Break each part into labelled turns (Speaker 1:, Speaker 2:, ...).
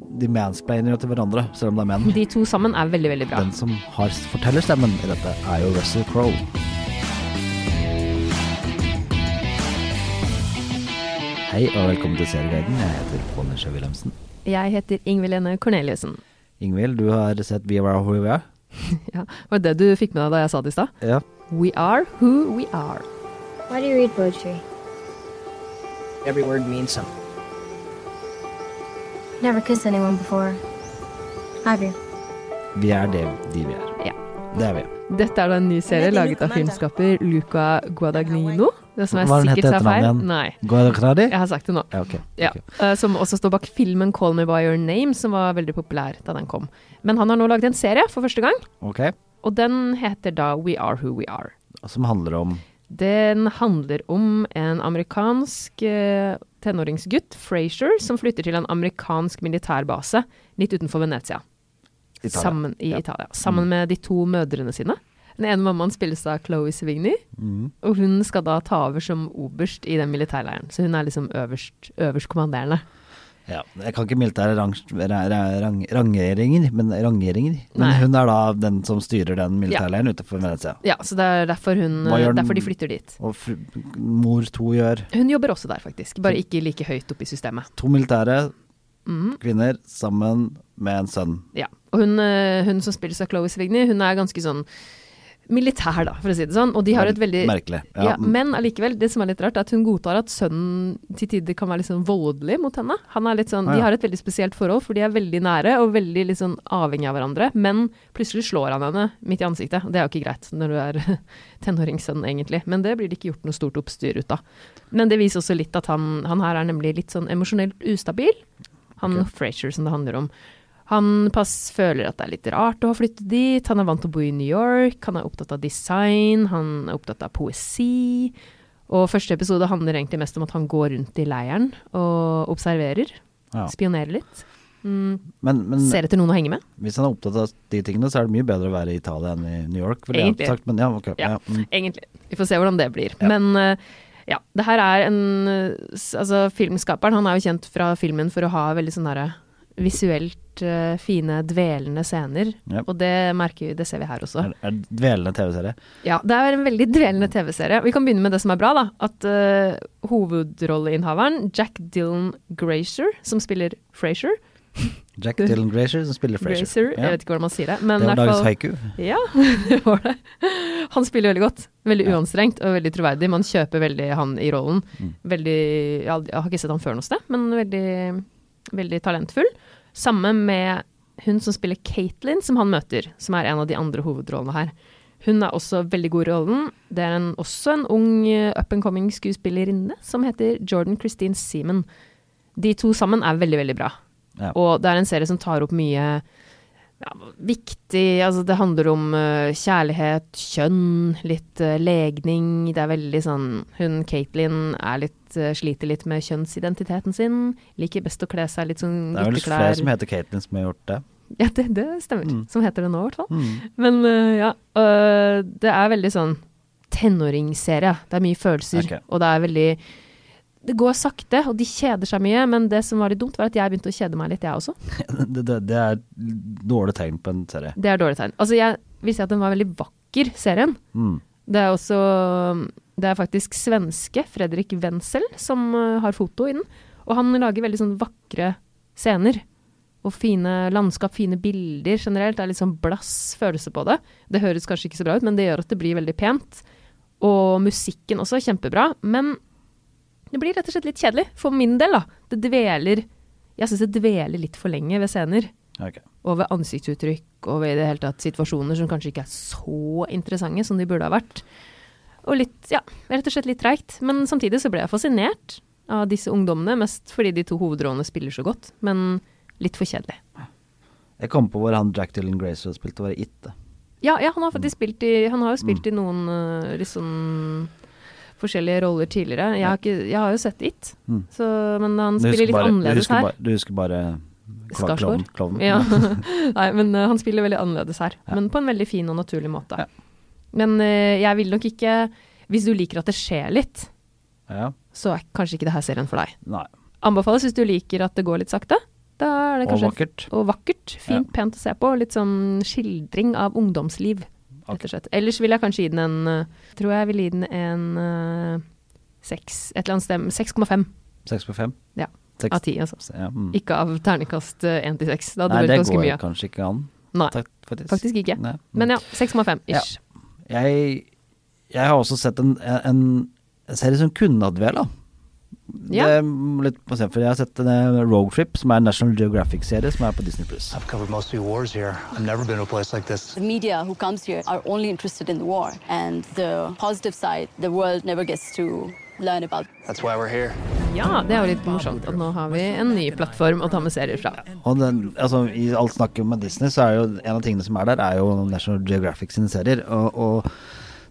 Speaker 1: de mansplainer jo til hverandre, selv om det er menn.
Speaker 2: De to sammen er veldig, veldig bra.
Speaker 1: Den som har fortellerstemmen i dette, er jo Russell Crowe. Hei og velkommen til Serieguiden. Jeg heter Pål Nisje Wilhelmsen.
Speaker 2: Jeg heter Ingvild Ene Corneliussen.
Speaker 1: Ingvild, du har sett We Are Who We Are?
Speaker 2: Ja, var det det du fikk med deg da jeg sa det i stad?
Speaker 1: Ja.
Speaker 2: We are who we are.
Speaker 3: Why do you read poetry?
Speaker 4: Every word means something.
Speaker 3: Never kissed anyone before. Have you?
Speaker 1: Vi er det de vi er.
Speaker 2: Ja.
Speaker 1: Det er vi.
Speaker 2: Dette er da en ny serie laget av filmskaper Luca Guadagnino. Det som jeg
Speaker 1: Hva var den
Speaker 2: sikkert
Speaker 1: het
Speaker 2: sa feil.
Speaker 1: etternavnet igjen?
Speaker 2: Nei,
Speaker 1: Går dere klar, de?
Speaker 2: jeg har sagt det nå.
Speaker 1: Ja, ok.
Speaker 2: Ja,
Speaker 1: ok.
Speaker 2: eh, Som også står bak filmen 'Call Me By Your Name', som var veldig populær da den kom. Men han har nå laget en serie for første gang,
Speaker 1: Ok.
Speaker 2: og den heter da 'We Are Who We Are'.
Speaker 1: Som handler om
Speaker 2: Den handler om en amerikansk eh, tenåringsgutt, Frasier, som flytter til en amerikansk militærbase litt utenfor Venezia.
Speaker 1: Italia.
Speaker 2: Sammen, I
Speaker 1: Ja. Mm.
Speaker 2: Italia. Sammen med de to mødrene sine. Den ene mammaen spilles av Chloé Sevigny,
Speaker 1: Mm.
Speaker 2: og hun skal da ta over som oberst i den militærleiren. Så hun er liksom øverst, øverstkommanderende.
Speaker 1: Ja, jeg kan ikke militære rang, ra- ra- rang, rangeringer, men rangeringer. Men
Speaker 2: Nei.
Speaker 1: hun er da den som styrer den militærleiren utenfor Venezia.
Speaker 2: Ja, så det er derfor, hun,
Speaker 1: Hva gjør den-
Speaker 2: derfor de flytter dit.
Speaker 1: Og fr mor to gjør
Speaker 2: Hun jobber også der, faktisk, bare ikke like høyt oppe i systemet.
Speaker 1: to militære
Speaker 2: Mm.
Speaker 1: kvinner sammen med en sønn.
Speaker 2: Ja. Og hun, eh, hun som spilles av Chloé Sevigny, hun er ganske sånn militær, da, for å si det sånn. Og de har et veldig
Speaker 1: Merkelig. mm,
Speaker 2: Ja, men allikevel, det som er litt rart, er at hun godtar at sønnen til tider kan være litt sånn voldelig mot henne. Han er litt sånn,
Speaker 1: Ah, ja.
Speaker 2: De har et veldig spesielt forhold, for de er veldig nære og veldig litt sånn avhengig av hverandre. Men plutselig slår han henne midt i ansiktet. og Det er jo ikke greit når du er tenåringssønn, egentlig. Men det blir det ikke gjort noe stort oppstyr ut av. Men det viser også litt at han, han her er nemlig litt sånn emosjonelt ustabil. Han
Speaker 1: Ok.
Speaker 2: Frasier som det handler om. Han pass føler at det er litt rart å ha flyttet dit. Han er vant til å bo i New York. Han er opptatt av design. Han er opptatt av poesi. Og første episode handler egentlig mest om at han går rundt i leiren og observerer.
Speaker 1: Ja.
Speaker 2: Spionerer litt. Mm,
Speaker 1: Men, men
Speaker 2: ser etter noen å henge med.
Speaker 1: hvis han er opptatt av de tingene, så er det mye bedre å være i Italia enn i New York, ville jeg
Speaker 2: Egentlig.
Speaker 1: sagt. Men ja, ok. Ja.
Speaker 2: Ja.
Speaker 1: mm.
Speaker 2: Egentlig. Vi får se hvordan det blir.
Speaker 1: Ja.
Speaker 2: Men eh, ja, det her er en eh, s- Altså, filmskaperen, han er jo kjent fra filmen for å ha veldig sånn derre visuelt eh, fine, dvelende scener.
Speaker 1: Ja.
Speaker 2: Og det merker vi, det ser vi her også.
Speaker 1: Er, er det dvelende TV-serie.
Speaker 2: Ja, det er en veldig dvelende TV-serie. Vi kan begynne med det som er bra, da. At eh, hovedrolleinnehaveren, Jack Dylan Grazer, som spiller Frasier
Speaker 1: Jack Dylan Grazer som spiller Frasier.
Speaker 2: Grazer,
Speaker 1: Ja.
Speaker 2: jeg vet ikke hvordan man sier det. Men
Speaker 1: Det var
Speaker 2: i hvert
Speaker 1: dagens
Speaker 2: fall-
Speaker 1: haiku.
Speaker 2: Ja, det var det. Han spiller veldig godt. Veldig
Speaker 1: Ja.
Speaker 2: uanstrengt og veldig troverdig. Man kjøper veldig han i rollen. Veldig Jeg har aldri- jeg har ikke sett han før noe sted, men veldig, veldig talentfull. Samme med hun som spiller Katelyn, som han møter, som er en av de andre hovedrollene her. Hun er også veldig god i rollen. Det er en, også en ung eh, up and coming skuespillerinne som heter Jordan Christine Seaman. De to sammen er veldig, veldig bra.
Speaker 1: Ja.
Speaker 2: Og det er en serie som tar opp mye ja, viktig Altså, det handler om eh, kjærlighet, kjønn, litt eh, legning. Det er veldig sånn Hun Katelyn er litt eh, Sliter litt med kjønnsidentiteten sin. Liker best å kle seg litt sånn
Speaker 1: Det er vel flere som heter Caitlyn som har gjort det.
Speaker 2: Ja, det, det stemmer. Som heter det nå, i hvert fall.
Speaker 1: Mm.
Speaker 2: Men øh, ja, øh, det er veldig sånn tenåringsserie. Det er mye følelser,
Speaker 1: Ok.
Speaker 2: og det er veldig Det går sakte, og de kjeder seg mye, men det som var litt dumt, var at jeg begynte å kjede meg litt, jeg også.
Speaker 1: det, det, det er dårlig tegn på en serie.
Speaker 2: Det er dårlig tegn. Altså, jeg vil si at den var veldig vakker, serien.
Speaker 1: Mm.
Speaker 2: Det er også um, Det er faktisk svenske Fredrik Wenzel som øh, har foto i den, og han lager veldig sånn vakre scener. Og fine landskap, fine bilder generelt. Det er litt sånn blass følelse på det. Det høres kanskje ikke så bra ut, men det gjør at det blir veldig pent. Og musikken også er kjempebra, men det blir rett og slett litt kjedelig. For min del, da. Det dveler Jeg syns det dveler litt for lenge ved scener.
Speaker 1: Ok.
Speaker 2: Og ved ansiktsuttrykk og ved i det hele tatt situasjoner som kanskje ikke er så interessante som de burde ha vært. Og litt, ja, rett og slett litt treigt. Men samtidig så ble jeg fascinert av disse ungdommene, mest fordi de to hovedrollene spiller så godt, men litt for kjedelig.
Speaker 1: Jeg kom på hvor han Jack Dylan Grazer spilte, var i It. da.
Speaker 2: Ja, ja han har
Speaker 1: Mm.
Speaker 2: faktisk spilt i Han har jo spilt i noen eh, litt sånn forskjellige roller tidligere. Jeg har, ikke, jeg har jo sett It,
Speaker 1: Mm.
Speaker 2: så, men han
Speaker 1: Du husker
Speaker 2: spiller litt
Speaker 1: bare- du
Speaker 2: annerledes
Speaker 1: husker
Speaker 2: her.
Speaker 1: bare- Du husker bare kla-
Speaker 2: Skarsgård.
Speaker 1: klovnen. klovnen.
Speaker 2: Ja. Nei, men eh, han spiller veldig annerledes her.
Speaker 1: Ja.
Speaker 2: Men på en veldig fin og naturlig måte.
Speaker 1: Ja.
Speaker 2: Men eh, jeg vil nok ikke Hvis du liker at det skjer litt,
Speaker 1: Ja.
Speaker 2: så er kanskje ikke det her serien for deg.
Speaker 1: Nei.
Speaker 2: Anbefales hvis du liker at det går litt sakte. Da er det
Speaker 1: Og
Speaker 2: kanskje
Speaker 1: vakkert.
Speaker 2: Og vakkert. Fint, pent å se på. Litt sånn skildring av ungdomsliv, rett og slett. Ellers vil jeg kanskje gi den en eh, Tror jeg vil gi den en eh, seks, et eller annet sted 6,5
Speaker 1: Seks på fem?
Speaker 2: Ja,
Speaker 1: Seks-
Speaker 2: av 10, altså.
Speaker 1: Ja, mm.
Speaker 2: Ikke av terningkast eh, 1 til 6. Da
Speaker 1: Nei,
Speaker 2: hadde det
Speaker 1: det
Speaker 2: vært ganske
Speaker 1: går
Speaker 2: mye.
Speaker 1: kanskje ikke an.
Speaker 2: Nei,
Speaker 1: Takk, faktisk.
Speaker 2: faktisk ikke.
Speaker 1: Nei.
Speaker 2: Men ja, 6,5 ish.
Speaker 1: Jeg, jeg har også sett en, en, en serie som kunne hatt vel, da.
Speaker 2: Ja.
Speaker 1: Det er litt på eksempel, jeg har sett en Roadtrip, som er en National Geographic-serie som er på Disney Pluss.
Speaker 5: I've covered most of the wars here. I've never been to a place like this.
Speaker 6: The media who comes here are only interested in the war and the positive side the world never gets to learn about.
Speaker 5: That's why we're here.
Speaker 2: Ja, det er jo litt morsomt at nå har vi en ny plattform å ta med serier fra.
Speaker 1: Og den, altså, I alt snakket om Disney, så er jo en av tingene som er der, er jo National Geographic sine serier. Og, og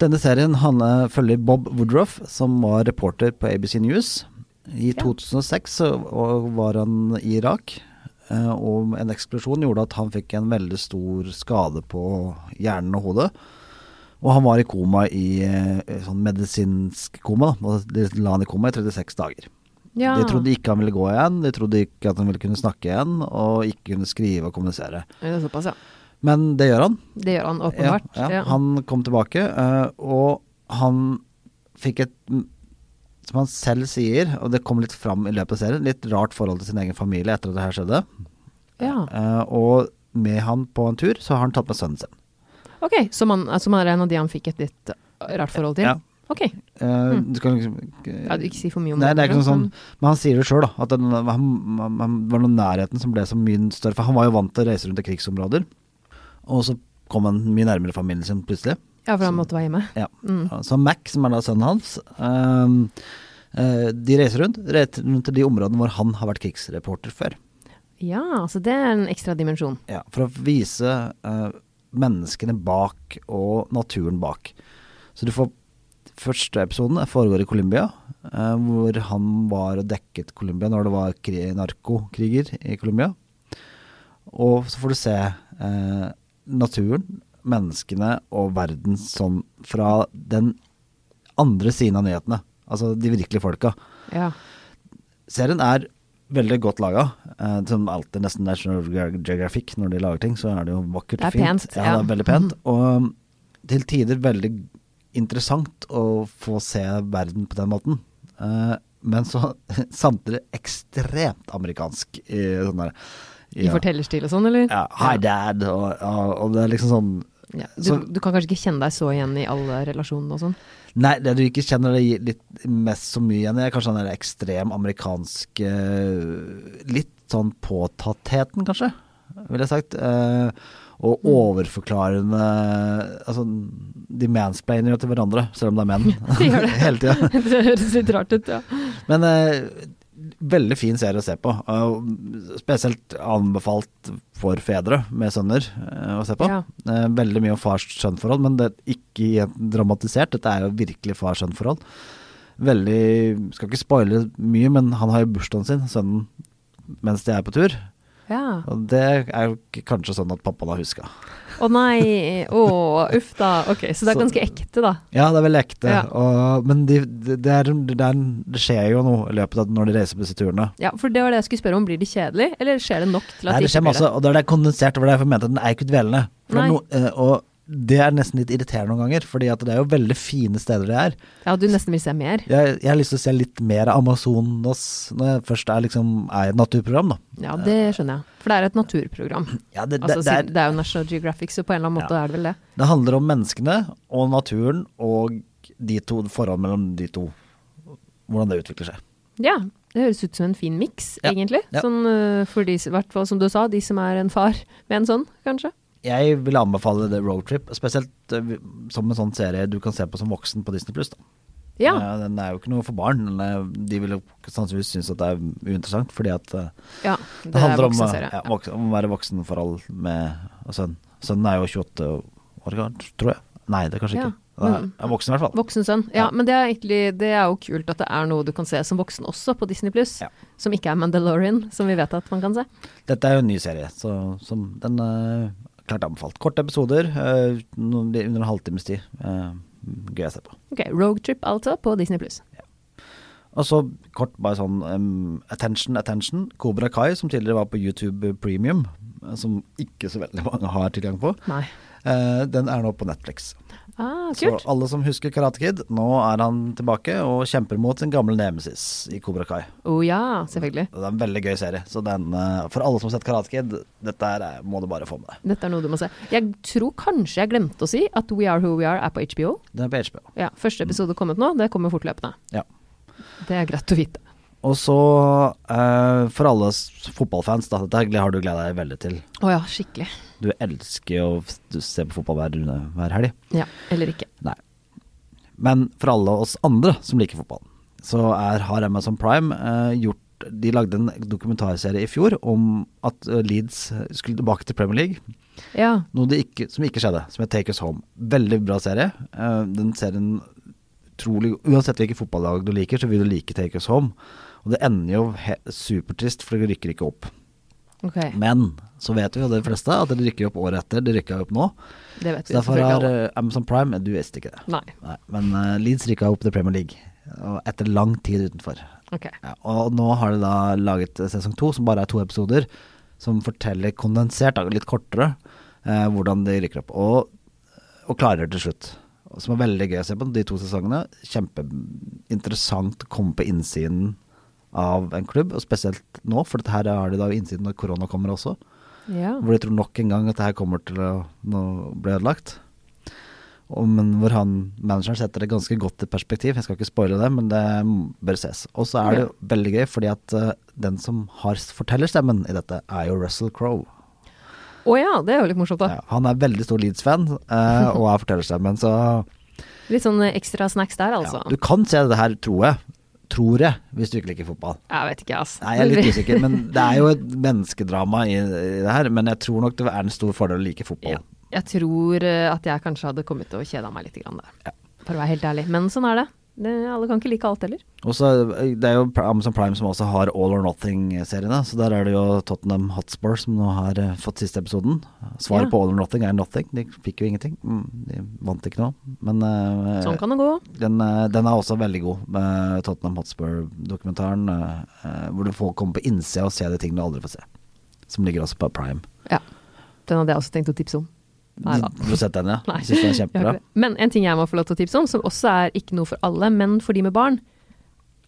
Speaker 1: denne serien han eh, følger Bob Woodruff, som var reporter på ABC News. I 2006 så og var han i Irak, eh, og en eksplosjon gjorde at han fikk en veldig stor skade på hjernen og hodet. Og han var i koma i eh, sånn medisinsk koma, da. Og De la han i koma i 36 dager.
Speaker 2: Ja.
Speaker 1: De trodde ikke han ville gå igjen, de trodde ikke at han ville kunne snakke igjen, og ikke kunne skrive og kommunisere.
Speaker 2: Det er såpass, ja.
Speaker 1: Men det gjør han.
Speaker 2: Det gjør han
Speaker 1: Ja,
Speaker 2: åpenbart.
Speaker 1: ja.
Speaker 2: Ja.
Speaker 1: Han kom tilbake, eh, og han fikk et, mm, som han selv sier, og det kom litt fram i løpet av serien, litt rart forhold til sin egen familie etter at det her skjedde.
Speaker 2: Ja.
Speaker 1: Eh, og med han på en tur, så har han tatt med sønnen sin.
Speaker 2: Ok, altså, som, han, som er en av de han fikk et litt rart forhold til?
Speaker 1: Ja.
Speaker 2: Ok,
Speaker 1: Eh, Du skal liksom
Speaker 2: ja, du ikke si for mye om
Speaker 1: Nei, det er ikke noe sånn
Speaker 2: men-
Speaker 1: Men han sier det sjøl, da. At den, han, han, han var noe nærheten som ble så mye større. For han var jo vant til å reise rundt i krigsområder. Og så kom han mye nærmere familien sin plutselig.
Speaker 2: Ja, for han måtte være hjemme.
Speaker 1: Ja. Så Mac, som er da sønnen hans, øhm, øh, de reiser rundt, reiser rundt til de områdene hvor han har vært krigsreporter før.
Speaker 2: Ja, så det er en ekstra dimensjon.
Speaker 1: Ja, for å vise eh, menneskene bak og naturen bak. Så du får Første episoden foregår i Colombia, eh, hvor han var og dekket Colombia når det var kri narkokriger i Colombia. Og så får du se eh, naturen, menneskene og verden sånn fra den andre siden av nyhetene. Altså de virkelige folka.
Speaker 2: Ja.
Speaker 1: Serien er veldig godt laga. Eh, som alltid nesten National Geog- Geographic når de lager ting, så er det jo vakkert
Speaker 2: Det
Speaker 1: og
Speaker 2: er
Speaker 1: fint. ja,
Speaker 2: pent, ja. Mhm.
Speaker 1: det er veldig pent. Og um, til tider veldig interessant å få se verden på den måten. Eh, men så samtidig ekstremt amerikansk i sånn der
Speaker 2: I fortellerstil og sånn, eller?
Speaker 1: Ja, Hi dad, og, og, og det er liksom sånn
Speaker 2: Ja.
Speaker 1: så-
Speaker 2: Du, du kan kanskje ikke kjenne deg så igjen i alle relasjonene og sånn?
Speaker 1: Nei, det du ikke kjenner det gir litt mest så mye igjen i, er kanskje den der ekstrem amerikanske Litt sånn påtattheten, kanskje, ville jeg sagt. Eh, og
Speaker 2: Mm.
Speaker 1: overforklarende Altså, de mansplainer jo til hverandre, selv om det er menn.
Speaker 2: De gjør det.
Speaker 1: Hele tida.
Speaker 2: det høres litt rart ut, ja.
Speaker 1: Men eh, veldig fin serie å se på. og spesielt anbefalt for fedre med sønner eh, å se på.
Speaker 2: Ja.
Speaker 1: Eh, veldig mye om fars-sønn-forhold, men det er ikke dramatisert. Dette er jo virkelig far-sønn-forhold. Veldig Skal ikke spoile mye, men han har jo bursdagen sin, sønnen, mens de er på tur.
Speaker 2: Ja.
Speaker 1: Og det er jo k- kanskje sånn at pappaen har huska.
Speaker 2: Å nei, å uff da. Ok, så det er
Speaker 1: Så-
Speaker 2: ganske ekte, da.
Speaker 1: Ja, det er veldig ekte.
Speaker 2: Ja.
Speaker 1: Og, men de, det, er, det, er, det skjer jo noe i løpet av når de reiser på disse turene.
Speaker 2: Ja, for det var det jeg skulle spørre om. Blir det kjedelig, eller skjer det nok til at
Speaker 1: Nei, det
Speaker 2: ikke
Speaker 1: skjer
Speaker 2: blir
Speaker 1: masse, og det er det kondensert over det jeg mente at den er ikke dvelende. For det er
Speaker 2: Nei.
Speaker 1: no, eh, og det er nesten litt irriterende noen ganger, fordi at det er jo veldig fine steder det er.
Speaker 2: Ja, du nesten vil se mer.
Speaker 1: Jeg, jeg har lyst til å se litt mer av Amazonas når jeg først er, liksom, er i et naturprogram, da.
Speaker 2: Ja, det skjønner jeg. For det er et naturprogram.
Speaker 1: Ja, det, det,
Speaker 2: Altså,
Speaker 1: det, er,
Speaker 2: siden- det er jo National Geographic, så på en eller annen måte er det vel det.
Speaker 1: det handler om menneskene og naturen og de to, forholdet mellom de to. Hvordan det utvikler seg.
Speaker 2: Ja, det høres ut som en fin miks,
Speaker 1: Ja,
Speaker 2: egentlig.
Speaker 1: ja.
Speaker 2: Sånn øh, for de, i hvert fall som du sa, de som er en far med en sånn, kanskje.
Speaker 1: Jeg vil anbefale The Road Trip, spesielt eh, som en sånn serie du kan se på som voksen på Disney Pluss.
Speaker 2: Ja,
Speaker 1: Eh, Den er jo ikke noe for barn. Den er, de vil jo sannsynligvis synes at det er uinteressant, fordi at eh,
Speaker 2: ja
Speaker 1: det,
Speaker 2: det, er
Speaker 1: handler om, eh,
Speaker 2: voksenserie.
Speaker 1: ja, vok om å være voksenforhold med og sønn. Sønnen er jo 28 år gammel, tror jeg. Nei, det er kanskje
Speaker 2: Ja,
Speaker 1: ikke. Han er,
Speaker 2: men-
Speaker 1: er voksen i hvert fall.
Speaker 2: Voksen sønn. Ja, men det er, egentlig, det er jo kult at det er noe du kan se som voksen også på Disney pluss.
Speaker 1: Ja.
Speaker 2: Som ikke er Mandalorian, som vi vet at man kan se.
Speaker 1: Dette er jo en ny serie, så som den eh, klart anbefalt. Korte episoder, eh, noen- de- under en halvtimes tid. Eh, gøy å se på.
Speaker 2: Ok, Roadtrip altså på Disney pluss.
Speaker 1: Og så kort bare sånn em, attention, attention. Cobra Kai, som tidligere var på YouTube Premium, eh, som ikke så veldig mange har tilgang på,
Speaker 2: Nei.
Speaker 1: eh, den er nå på Netflix.
Speaker 2: Ah,
Speaker 1: Så
Speaker 2: kult.
Speaker 1: alle som husker Karate Kid, nå er han tilbake og kjemper mot sin gamle nemesis i Cobra Kai.
Speaker 2: Å ja, selvfølgelig.
Speaker 1: Og Det er en veldig gøy serie. Så den, eh, for alle som har sett Karate Kid, dette her er- må du bare få med deg.
Speaker 2: Dette er noe du må se. Jeg tror kanskje jeg glemte å si at We Are Who We Are er på HBO.
Speaker 1: Den er på HBO.
Speaker 2: Ja, Første episode kommet nå, det kommer fortløpende.
Speaker 1: Ja.
Speaker 2: Det er greit å vite.
Speaker 1: Og så, eh, for alle s- fotballfans, da, dette her har du gleda deg veldig til.
Speaker 2: Å ja, skikkelig.
Speaker 1: Du elsker jo å f- du ser på fotball hver, runde- hver helg.
Speaker 2: Ja, eller ikke.
Speaker 1: Nei. Men for alle oss andre som liker fotball, så er, har Amazon Prime eh, gjort De lagde en dokumentarserie i fjor om at eh, Leeds skulle tilbake til Premier League.
Speaker 2: Ja,
Speaker 1: Noe det ikke, som ikke skjedde, som het Take Us Home. Veldig bra serie. Eh, den serien utrolig Uansett hvilket fotballag du liker, så vil du like Take Us Home. Og det ender jo he supertrist, for det rykker ikke opp.
Speaker 2: ok.
Speaker 1: Men så vet vi jo de fleste at det rykker opp året etter. Det rykka opp nå.
Speaker 2: Det vet vi.
Speaker 1: Så derfor
Speaker 2: selvfølgelig
Speaker 1: har
Speaker 2: alle.
Speaker 1: eh, Amazon Prime Du visste ikke det.
Speaker 2: Nei.
Speaker 1: men eh, Leeds rykka opp til Premier League og etter lang tid utenfor.
Speaker 2: Ok.
Speaker 1: Ja, og nå har de da laget eh, sesong to, som bare er to episoder, som forteller kondensert, da, litt kortere, eh, hvordan de rykker opp. Og, og klarer det til slutt. Og Som er veldig gøy å se på, de to sesongene. Kjempeinteressant å komme på innsiden av en klubb, og spesielt nå, for dette her har de da innsiden når korona kommer også.
Speaker 2: Ja.
Speaker 1: Hvor de tror nok en gang at det her kommer til å nå bli ødelagt. Og, men hvor han, manageren setter det ganske godt i perspektiv. Jeg skal ikke spoile det, men det bør ses. Og så er det jo veldig gøy, fordi at eh, den som har fortellerstemmen i dette, er jo Russell Crowe.
Speaker 2: Å ja, det er jo litt morsomt, da.
Speaker 1: Ja, han er veldig stor Leeds-fan eh, og er fortellerstemmen, så
Speaker 2: Litt sånn eh, ekstra snacks der, altså.
Speaker 1: ja, du kan se det her, tror jeg. Tror jeg, hvis du ikke liker fotball.
Speaker 2: Jeg vet ikke, altså.
Speaker 1: Nei, jeg er litt usikker, men det er jo et menneskedrama i, i det her. Men jeg tror nok det er en stor fordel å like fotball.
Speaker 2: Ja. Jeg tror eh, at jeg kanskje hadde kommet til å kjede meg litt grann der. For å være helt ærlig. Men sånn er det. det. Alle kan ikke like alt heller.
Speaker 1: Og så eh, Det er jo Pri- Amazon Prime som også har All or Nothing-seriene. Så der er det jo Tottenham Hotspur som nå har eh, fått siste episoden. Svaret
Speaker 2: Ja.
Speaker 1: på All or Nothing er nothing. De fikk jo ingenting. Mm, De vant ikke noe. Men eh,
Speaker 2: Sånn kan det gå.
Speaker 1: den, eh, den er også veldig god, med Tottenham Hotspur-dokumentaren. eh, eh, Hvor du får komme på innsida og se de tingene du aldri får se. Som ligger også på Prime.
Speaker 2: Ja. Den hadde jeg også tenkt å tipse om. Nei da.
Speaker 1: Har du sett den, ja?
Speaker 2: Nei,
Speaker 1: Syns Mm. den er
Speaker 2: jeg har
Speaker 1: kjempebra?
Speaker 2: ikke det. Men en ting jeg må få lov til å tipse om, som også er ikke noe for alle, men for de med barn,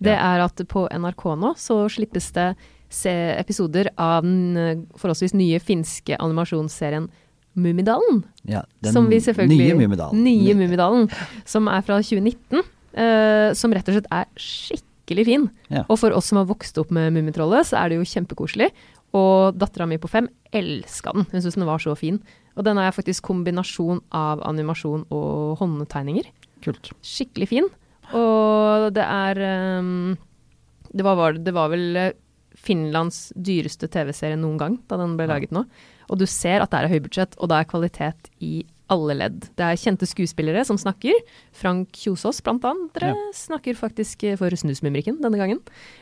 Speaker 2: det er at på NRK nå så slippes det se episoder av den eh, forholdsvis nye finske animasjonsserien Mummidalen.
Speaker 1: Ja, den
Speaker 2: som vi selvfølgelig
Speaker 1: Nye Mummidalen.
Speaker 2: Nye Mummidalen, som er fra 2019. eh, som rett og slett er skikkelig fin.
Speaker 1: Ja.
Speaker 2: Og for oss som har vokst opp med Mummitrollet, så er det jo kjempekoselig. Og dattera mi på fem elska den. Hun syntes den var så fin. Og den er faktisk kombinasjon av animasjon og håndtegninger.
Speaker 1: Kult.
Speaker 2: Skikkelig fin. Og det er eh, det, var, var, det var vel eh, Finlands dyreste TV-serie noen gang da den ble laget nå. Og du ser at det er høybudsjett, og det er kvalitet i alle ledd. Det er kjente skuespillere som snakker. Frank Kjosås blant andre snakker faktisk eh, for Snusmumrikken denne gangen.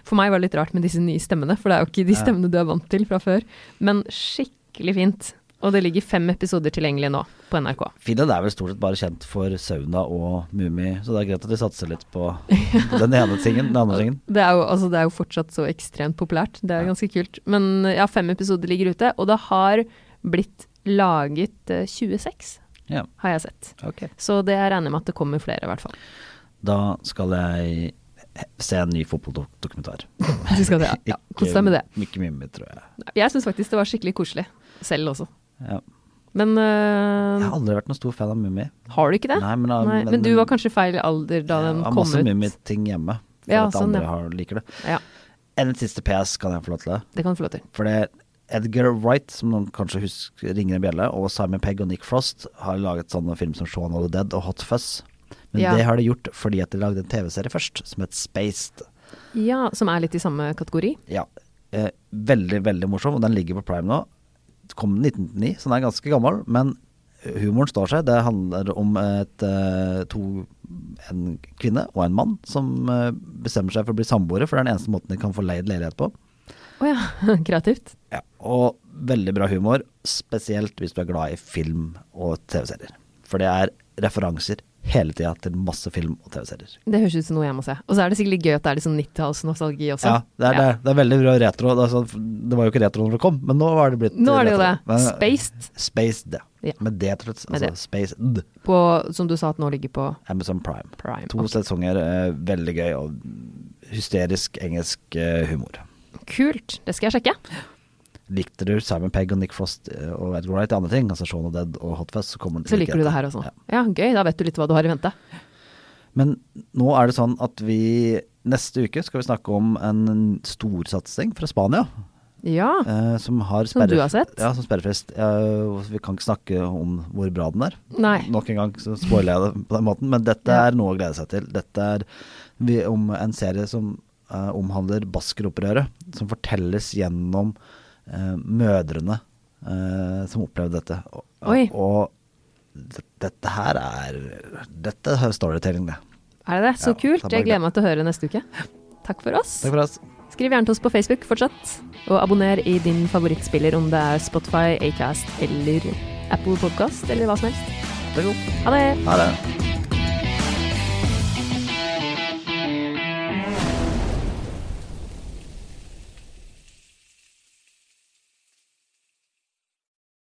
Speaker 2: For meg var det litt rart med disse nye stemmene, for det er jo ikke de stemmene du er vant til fra før. Men skikkelig fint. Og det ligger fem episoder tilgjengelig nå på NRK.
Speaker 1: Finland er vel stort sett bare kjent for sauna og Mummi, så det er greit at de satser litt på den ene tingen. Den andre tingen.
Speaker 2: Det er, jo, altså, det er jo fortsatt så ekstremt populært. Det er ganske kult. Men ja, fem episoder ligger ute, og det har blitt laget eh, 26,
Speaker 1: Ja,
Speaker 2: har jeg sett.
Speaker 1: ok.
Speaker 2: Så det jeg regner med at det kommer flere, i hvert fall.
Speaker 1: Da skal jeg se en ny fotballdokumentar.
Speaker 2: Du skal det, ja. Kos deg med det.
Speaker 1: Ikke Mummi, tror jeg.
Speaker 2: Jeg syns faktisk det var skikkelig koselig selv også.
Speaker 1: Ja.
Speaker 2: Men eh,
Speaker 1: Jeg har aldri vært noen stor fan av Mummi.
Speaker 2: har du ikke det?
Speaker 1: Nei, men, ah,
Speaker 2: Nei,
Speaker 1: men-
Speaker 2: men du var kanskje feil alder da
Speaker 1: Jeg
Speaker 2: den
Speaker 1: har
Speaker 2: kom
Speaker 1: masse
Speaker 2: ut.
Speaker 1: Mummi-ting hjemme, for
Speaker 2: Ja,
Speaker 1: at
Speaker 2: sånn,
Speaker 1: andre
Speaker 2: ja.
Speaker 1: har, liker det.
Speaker 2: Ja,
Speaker 1: En siste PS kan jeg få lov til det.
Speaker 2: det kan du få lov til.
Speaker 1: For det Edgar Wright, som noen kanskje husker ringer en bjelle, og Simon Pegg og Nick Frost har laget sånne film som Shaun of the Dead og Hot Fuzz. Men
Speaker 2: Ja.
Speaker 1: det har de gjort fordi at de lagde en TV-serie først, som het Spaced.
Speaker 2: Ja, som er litt i samme kategori.
Speaker 1: Ja, eh, veldig, veldig morsom, og den ligger på Prime nå. Kom den 1909, så den er ganske gammel, men humoren står seg. Det handler om et, eh, to, en kvinne og en mann som eh, bestemmer seg for å bli samboere, for det er den eneste måten de kan få leid leilighet på.
Speaker 2: Å ja, kreativt.
Speaker 1: Ja, og veldig bra humor, spesielt hvis du er glad i film og TV-serier. For det er referanser hele tida til masse film og TV-serier.
Speaker 2: Det høres ut som noe jeg må se. Og så er det sikkert litt gøy at det er litt sånn 90-tallsnostalgi også.
Speaker 1: Ja, det er, det, er, det er veldig bra retro. Det, er sånn- det var jo ikke retro når det kom, men nå har det blitt
Speaker 2: Nå er det jo det.
Speaker 1: retro. Men-
Speaker 2: Spaced,
Speaker 1: Spaced,
Speaker 2: Ja.
Speaker 1: ja. Med det, tror jeg.
Speaker 2: Med
Speaker 1: Altså
Speaker 2: det.
Speaker 1: Spaced.
Speaker 2: på, som du sa at nå ligger på
Speaker 1: Amazon Prime.
Speaker 2: Prime.
Speaker 1: To sesonger, eh, veldig gøy og hysterisk engelsk eh, humor.
Speaker 2: Kult, det skal jeg sjekke.
Speaker 1: Likte du Simon Pegg og Nick Frost eh, og Edgar Wright og andre ting, altså Shaun of Dead og Hot Fuzz, så kommer du
Speaker 2: Så
Speaker 1: til å like
Speaker 2: liker du det
Speaker 1: dette.
Speaker 2: her også.
Speaker 1: Ja.
Speaker 2: Ja, gøy. Da vet du litt hva du har i vente.
Speaker 1: Men nå er det sånn at vi neste uke skal vi snakke om en storsatsing fra Spania.
Speaker 2: Ja.
Speaker 1: eh, som har
Speaker 2: Som du
Speaker 1: sperre-
Speaker 2: har sett?
Speaker 1: Ja, som sperrefrist. Eh, og vi kan ikke snakke om hvor bra den er.
Speaker 2: Nei.
Speaker 1: Nok en gang så spoiler jeg det på den måten, men dette
Speaker 2: Ja.
Speaker 1: er noe å glede seg til. Dette er vi, om en serie som eh, omhandler baskeropprøret, som fortelles gjennom eh, mødrene eh, som opplevde dette. Og,
Speaker 2: Oi.
Speaker 1: og det- dette her er Dette er storytelling, det.
Speaker 2: Er det det? Så
Speaker 1: Ja,
Speaker 2: kult.
Speaker 1: det er bare
Speaker 2: Jeg gleder meg til å høre neste uke. Takk for oss.
Speaker 1: Takk for oss.
Speaker 2: Skriv gjerne til oss på Facebook fortsatt. Og abonner i din favorittspiller, om det er Spotify, Acast eller Apple Podcast eller hva som helst.
Speaker 1: Takk.
Speaker 2: Ha det!
Speaker 1: Ha det.